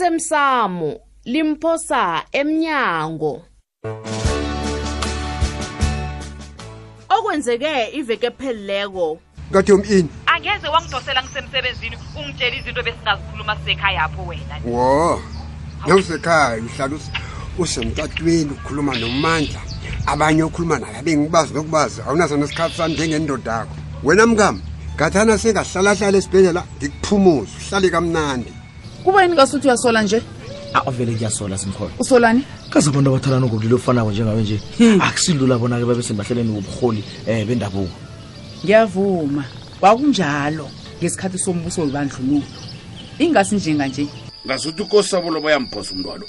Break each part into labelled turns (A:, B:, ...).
A: osemsamo limphosa emnyango okwenzeke iveke phelileko
B: kade yomini
C: angeze wangidosela ngisemsebenzini ungitshela izinto besingazikhuluma sisekhayapho wena
B: wo nawusekhaya uhlala us- usemtatweni ukhuluma nomandla abanye okhuluma naye abengibazi nokubazi awunasona isikhathi sami njengendoda akho wena mkami ngathana sengahlalahlala esibhedlela ngikuphumuze uhlale kamnandi
D: kubayini kasuthi uyasola nje
E: aw vele kuyasola simkhona
D: usolani
E: kaze abantu abathalana ngobulili ofanako njengawe nje akusilula bona-ke babe sembahleleni wobuholi um bendabuko
D: ngiyavuma kwakunjalo ngesikhathi sombuso webandlululo ingasi njenganje
F: ngasuthi ukosabulo bayamphosa umntwalo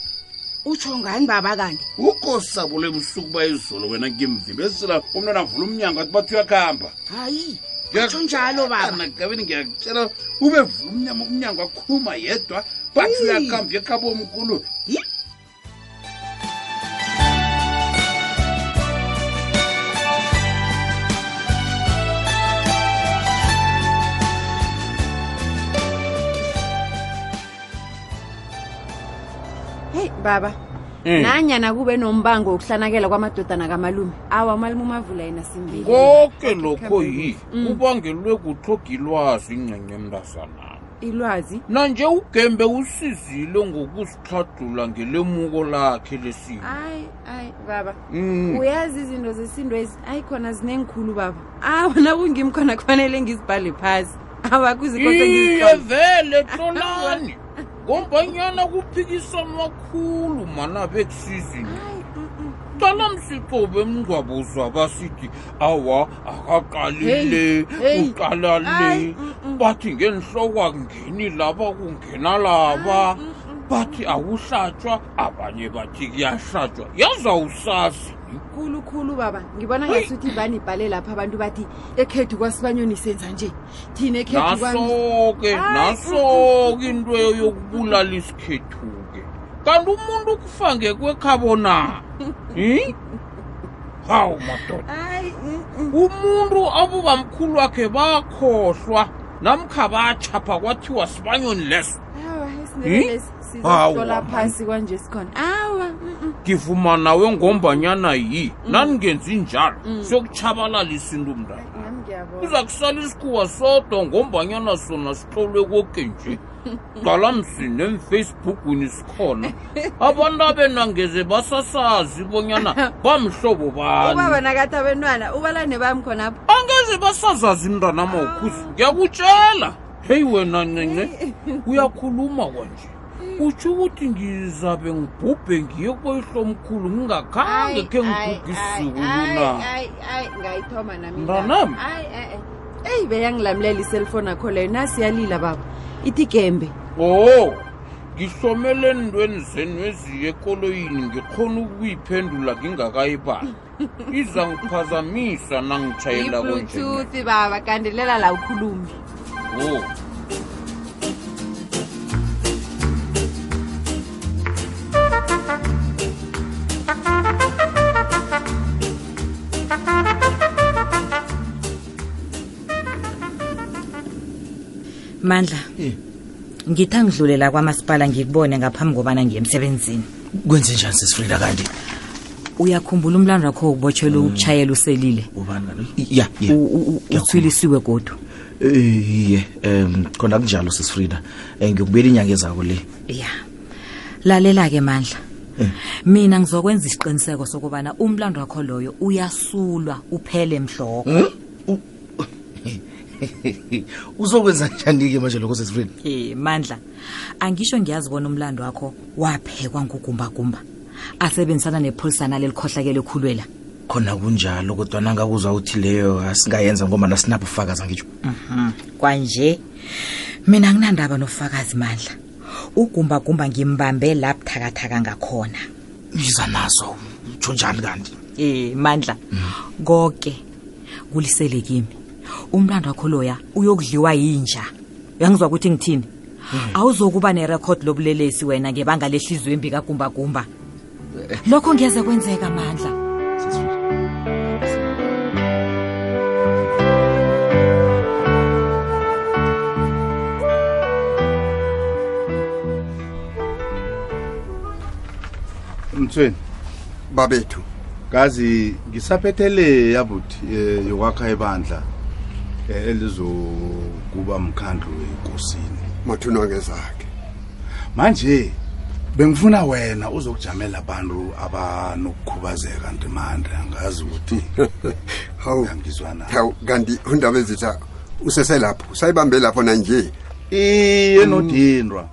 G: utsho ngani baba kanti
F: ukosabulo ebusuku bayizolo wena ngimvimbesela umntwana avula umnyango athi bathi uyakuhamba
G: hayi utsho njalo baba
F: nagabeni ngiyakutshela ube vula umnyama umnyango akhuluma yedwa bathi
G: Yi.
F: uyakuhamba ekhabo omkhulu
G: heyi baba nanyana kube nombango wokuhlanakela kwamadodana kamalume awa umalume umavula yena simbili
F: konke lokho yi
G: Mm.
F: kubangelwe kutlogilwazi ingcenye emntazanana
G: ilwazi
F: nanje ugembe usizile ngokusihlathula ngelemuko lakhe lesimo
G: hayi hayi baba
F: Mm.
G: uyazi izinto zesinto ezi ayi khona zinengikhulu baba awa nakungimi khona kufanele ngizibhale phasi awa kuzikose
F: iye
G: ngizihlole
F: vele tlolani ngombanyana kuphikisanwa khulu mana bekusizini tala msicobe mngcwabo zaba sithi awa akaqali le uqala le bathi ngenhloko akungeni laba kungena laba bathi awuhlatshwa abanye bathi kuyahlatshwa yazawusazi
G: khulukhulu baba ngibona ngasuthi ibani ibhale lapha abantu bathi ekhethu kwasibanyoni senza nje thina ekhethu kwami-
F: naso-ke
G: Hayi,
F: naso-ke into yokubulala isikhethu-ke kanti umuntu ukufa ngekwekhabo na Hmm? hawu madoda
G: Hayi, mm, mm.
F: umuntu abobamkhulu wakhe bakhohlwa namkha batshapha kwathiwa sibanyoni leso
G: awa esinebelesi
F: Hawa,
G: sizahlola
F: man.
G: phasi kwanje sikhona awa mm, mm.
F: ngivuma nawe ngombanyana yi naningenzi njalo siyokutshabalala isintu mntana
G: nami ngiyabona
F: kuza kusala isikhuwa sodwa ngombanyana sona sihlolwe koke nje qala msine emfacebookini sikhona abantu abenangeze basasazi bonyana bamhlobo
G: ubaba
F: bani
G: nakathi abentwana ubalane bami khonapho
F: angeze basazazi mntanama ukhuzi ngiyakutshela heyi wena ncince uyakhuluma kwanje utsho ukuthi ngizabe ngibhubhe ngiye kubayihlomkhulu ngingakhange khe ngigugisuku luna
G: ayi ngayithoma nami indaba.
F: Mntanami.
G: Ayi, ayi, ayi. eh. eyi beyangilamulela iselfoni akho leyo nasiyalila baba ithi gembe
F: o ngihlomele entweni zenu eziye ekoloyini ngikhona ukuyiphendula ngingakayibali iza ngiphazamisa nangitshayela konje
G: ibluetooth baba kandelela la ukhulumi
F: o
H: mandla ngithi angidlulela kwamasipala ngikubone ngaphambi kobana ngiye emsebenzini
E: kwenze njani sisifrida kanti
H: uyakhumbula umlando wakho wokubotshelwa ukutshayela uselile
E: ubani kanti ya ya
H: Mm. U- u- u-
E: Ngiyakhumbula.
H: uthwilisiwe godwa
E: Eh, iye um khona kunjalo sisifrida um ngiyokubela inyanga ezako le
H: ya lalela-ke mandla mina ngizokwenza isiqiniseko sokubana umlando wakho loyo uyasulwa uphele mhloko
E: uzokwenza njani-ke manje lokho sesifrida
H: Eh mandla angisho ngiyazi bona umlando wakho waphekwa ngugumbagumba asebenzisana nepholisana lelikhohlakele khulwela
E: khona kunjalo kodwa nangakuzwa uthi leyo asingayenza ngoba nasinabo ufakazi angitsho
H: Mhm. kwanje mina nginandaba nofakazi mandla ugumbagumba ngimbambe labuthakathaka ngakhona
E: yiza nazo utsho njani kanti
H: eh mandla konke Mhm. kulisele kimi umlando wakho loya uyokudliwa yinja uyangizwa ukuthi ngithini Eh. awuzokuba nerekhodi lobulelesi wena ngebanga lehlizwe embi kagumbagumba lokho ngiyeze kwenzeka mandla
I: mthweni
B: babethu
I: gazi ngisaphethele yabuthi eh, yokwakha ibandla eh, elizokuba mkhandlu wenkosini
B: mathunonge zakhe
I: manje bengifuna wena uzokujamela abantu abanokukhubazeka ndimandla angazi ukuthi
B: hawu
I: angizwa na
B: hawu kanti undaba ezitha useselapho usayibambe lapho nanje
I: iye nodindwa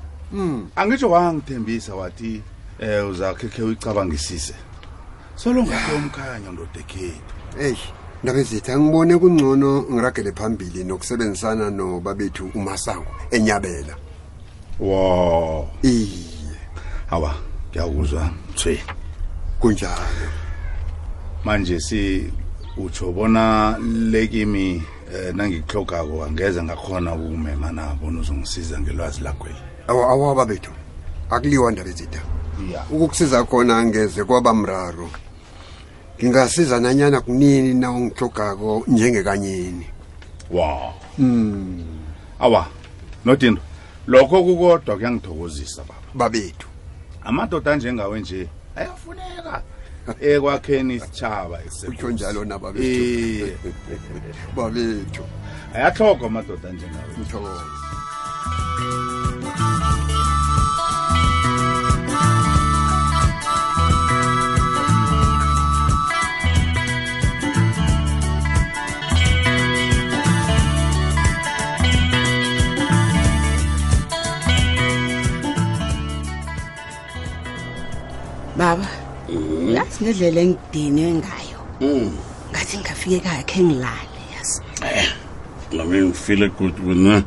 I: angitsho wangithembisa wathi um uzakhekhe uyicabangisise solongahle umkhanyo ndodekhethu
B: eyi ndaba ezitha angibone kungcono ngiragele phambili nokusebenzisana nobabethu umasango enyabela
I: wo
B: iye
I: hawa ngiyakuzwa mthweni
B: kunjalo
I: manje si utsho bona lekimi um nangikuhlogako angeze ngakhona ukumema nabona uzongisiza ngelwazi lakweli
B: awa awa babethu akuliwa ndaba ezitha
I: ya
B: ukukusiza khona angeze kwaba mraro ngingasiza nanyana kunini na ungihlogako njengekanyeni
I: wa awa nodindo lokho kukodwa kuyangithokozisa baba
B: babethu
I: amadoda anjengawe nje ayafuneka ekwakheni isitshaba ese-
B: utsho njalo nababethu
I: iye
B: babethu
I: ayahlogwa amadoda anjengawe
B: ngithokoza
H: baba yazi ngendlela engidinwe ngayo
D: Hmm,
H: ngathi ngingafike kakhe ngilale yazi
D: ngabe ngifile kuthi kuna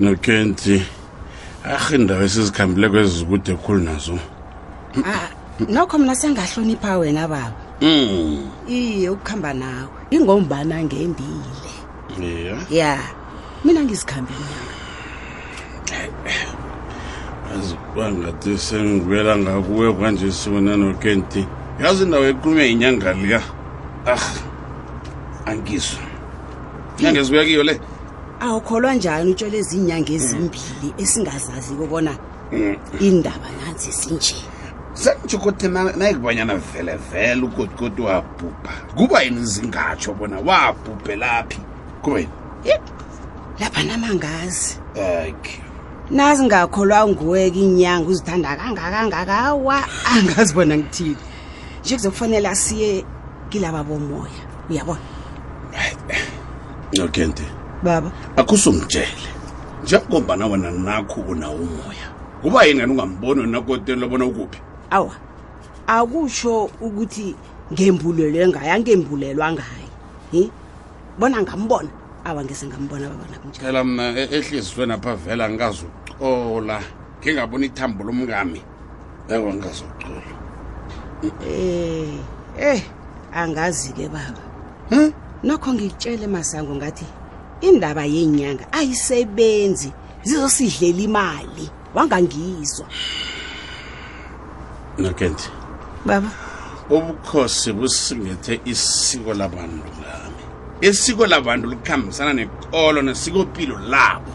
D: nokenti arhe indawo esizikhambile kwezizikude khulu nazo
H: Ah, nokho mna sengahlonipha wena baba
D: Mm,
H: iye ukukhamba nawe ingombana ngembile
D: iya
H: ya mina ngizikhambe nyanga
D: azikuba ngathi sengibuyela ngakuwe kwanje siwena nokenti yazi indawo equlume yinyanga lika ah angizwa inyanga ezibuya kiyo le
H: awukholwa njani utshele izinyanga ezimbili esingazazi kobona
D: Mm.
H: indaba nanzi sinje
D: sengitsho kodwa na- nayikubanyana velevele ugodigodi wabhubha kuba yini zingatsho bona wabhubhelaphi kuba yini
H: lapha namangazi
D: okay
H: nazi ngakholwa nguweke inyanga uzithanda kangakangaka awa angazi bona ngithini nje kuzokufanele asiye kilaba bomoya uyabona
D: nokenti
H: baba
D: akusumtshele njengoba na wena nakho unawo umoya kuba yini ngani ungamboni wena koteni lobona ukuphi
H: awa akusho ukuthi ngembulelwe ngayo angembulelwa ngayo hi bona ngambona awa ngese ngambona babana kunje
D: phela mna e- ehlizisweni apha vele angazucola ngingaboni ithambo lomkami eko angazucola
H: eh eh angazi ke baba nokho ngitshele masango ngathi indaba yenyanga ayisebenzi zizosidlela imali wangangizwa
D: nokenti
H: baba
D: ubukhosi busingethe isiko labantu lami isiko labantu likhambisana nekolo nesikopilo labo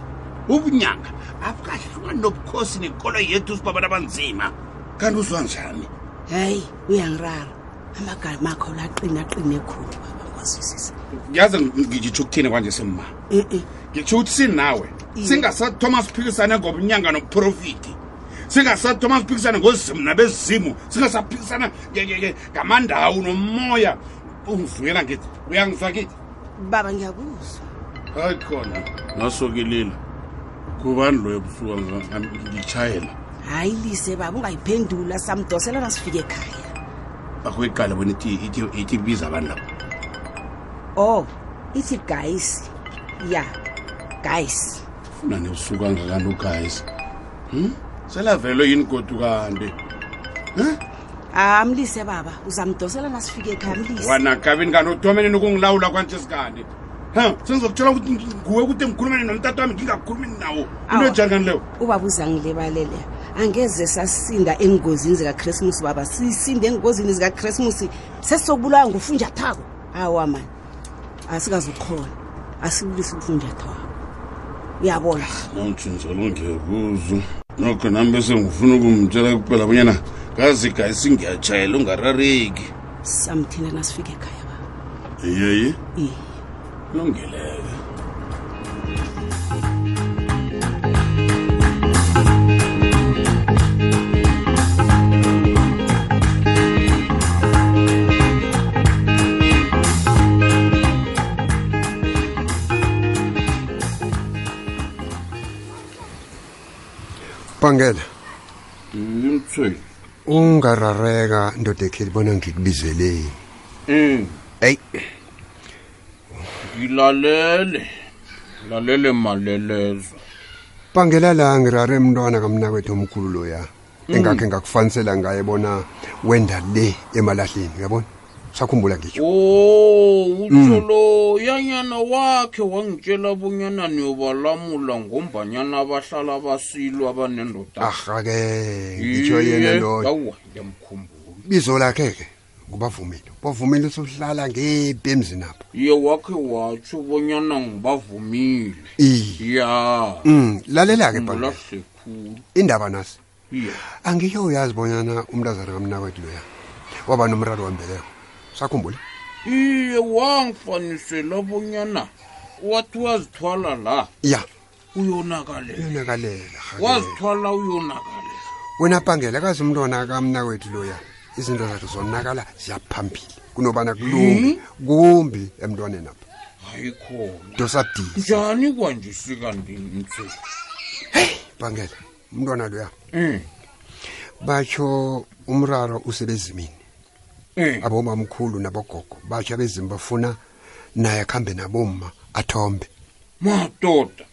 D: ubunyanga abukahluka nobukhosi nekolo yethu sibabantu abanzima kanti uzwa njani
H: hayi uyangirara amagama akho laqina qine khulu baba ngwazwisisa
D: yazi ngitsho ukuthini kwanje simma
H: eh eh
D: ngitsho ukuthi sinawe singasathoma siphikisane ngobunyanga nobuprofiti singasathoma siphikisane ngozimu nabezimu singasaphikisana nge- nge- nge- ngamandawo nomoya ungizuyela ngithi uyangizwa kithi
H: baba ngiyakuzwa
D: hayi khona nasokelile kubani loyo busuka ngitshayela
H: hayi lise baba ungayiphendula samdoselana sifike ekhaya
D: akuyiqala wena ithi ibiza abantu labo
H: oh ithi guys ya guys
D: funa nebusuku angakanti ugayisi Hmm? selavelwe yini godu kanti
H: amlise baba uzamdoselana sifike ekhaya mlise
D: wena gabini kanti uthomeneni ukungilawula kwanje sikandi ha sengizokutshela ukuthi nguwe ukuthi ngikhulumene nomtata wami ngingakhulumeni nawo into
H: Awa.
D: enjani kanti leyo
H: ubaba uzangilebalele angeze sasinda engozini zikakrismus baba sisinde engozini zikakrismus sesizobulawa ngufunjathako hawa mani asikazukhona asikulisi ufunjathwako uyabona
D: nawutshintshelongekuzo nokho nami bese ngifuna ukumtshela kuphela bonyana kazi gayisi ngiyatshayela ungarareki
H: samthina nasifika ekhaya baba
D: yeyi
H: Iye.
D: lungileke
B: bangela
D: imthweni
B: ungarareka ndoda ekheli bona ngikubizeleni
F: um
B: eyi
F: ngilalele lalele malelezo
B: bangela la ngirare mntwana kamnakwethu omkhulu loya
F: Mm.
B: engakhe ngakufanisela ngaye bona wenda le emalahleni uyabona sakhumbula ngisho
F: o utsho
B: Mm.
F: lo yanyana wakhe wangitshela bonyana niyobalamula ngombanyana abahlala basilwa banendoda
B: ahake ngitsho Ah, yena loyo
F: ngiyamkhumbula
B: bizo lakhe ke ngubavumile bavumile usuhlala ngephi emzini apho
F: ye wakhe watsho bonyana ngibavumile
B: Iye.
F: ya
B: Mm, lalela ke
F: Ngikhumbula
B: Bhangela.
F: kuhle khulu
B: indaba nasi
F: Iye.
B: angike uyazi bonyana umntazana kamnakwethu loya waba nomraro wembeleko sakhumbula
F: iye wangifanisela bonyana wathi wazithwala la
B: ya
F: uyonakalela
B: uyonakalela
F: wazithwala uyonakalela
B: wena bhangela kazi umntwana kamnakwethu loya izinto zakhe zonakala ziyaphambili kunobana kulunge kumbi emntwaneni apha
F: hayikhona
B: dosadile
F: njani kwanje sikandimthe
B: bhangela umntwana loya
F: um
B: batsho umraro usebezimini
F: um
B: abomamkhulu nabogogo batsho abezimi bafuna naye akuhambe naboma athombe
F: madoda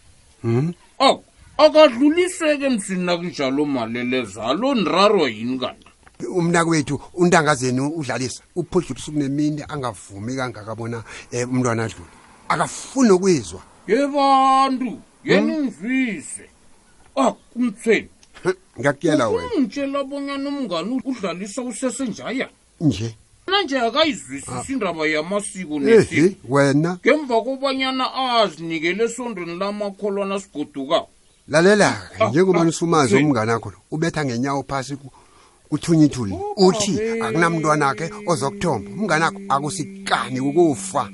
B: Hmm?
F: ako akadluliseke emsini nakunjalo malelezalo nirarwa yini kanti
B: umnakwethu untangazeni udlalisa uphodla ubusuku nemini angavumi kangaka bona um umntwana adlule akafuni nokwizwa
F: yebantu yeningizwise akumthweni
B: ngiyakuyela Ah, wena
F: ungitshela bonyana umngani udlalisa usesenjaya
B: nje
F: nanje akayizwisisi indaba yamasiko nesiko
B: Ah. ehe wena
F: ngemva kobanyana azinikele esondweni lamakholwana sigodukako
B: lalela-ke njengoba nisumazi
F: Zwe-
B: umngane akho lo ubetha ngenyawo phasi ku- kuthunyithuli uthi akunamntwana akhe ozokuthomba umngane akho akusikani ukufa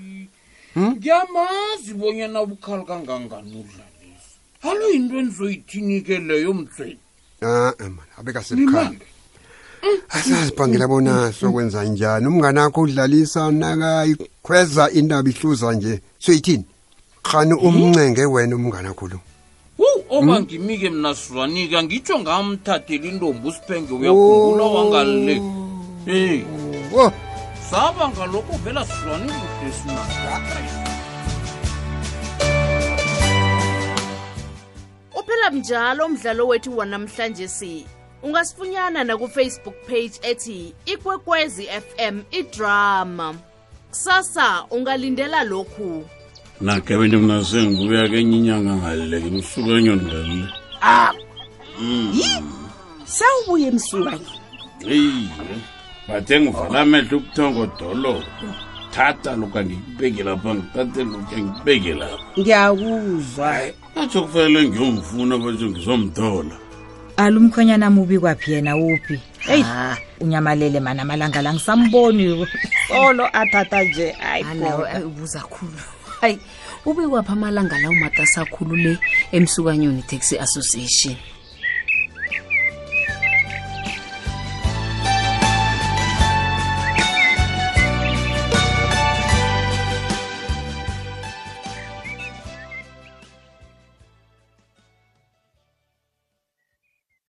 B: Hmm?
F: ngiyamazi bonyana bukhali kangangani udlalisa alo yinto enizoyithini-ke leyo mthweni
B: a-a mani abekaselikhali asazibhangela bona sokwenza njani umngane akho udlalisa nakayikhweza indaba ihluza nje soyithini khani umncenge wena umngane akho lo
F: wu
D: Hmm?
F: oba ngimi-ke mna sizwanika ngitsho ngamthathela intombi usiphenge
D: Oh.
F: uyakhumbula wangalile em
B: wo
F: saba ngalokho vela sizwane kuhle sina
A: uphela mnjalo umdlalo wethu wanamhlanje si ungasifunyana nakufacebook page ethi ikwekwezi fm idrama kusasa ungalindela lokhu
D: nakhe bento mna sengibuya kenye inyanga ngaluleke usuku enyondalule
H: yi sewubuye emsukanye
D: iye bathe ngivala amehlo ubuthongodolo thatha luka ngikubeke lapha ngithathe luka ngikubeke lapha
H: ngiyakuzwa
D: batsho kufanele ngiyomfuna batsho ngizomthola
J: alumkhwenyana mubi kwaphi yena uphi eyi
K: Ah.
J: unyamalele mani amalanga la ngisamboni solo athatha nje
K: Alawo, ayi, ubuza khulu hayi ube kwaphi amalanga lawo matasakhulu le emsukanyoni taxi association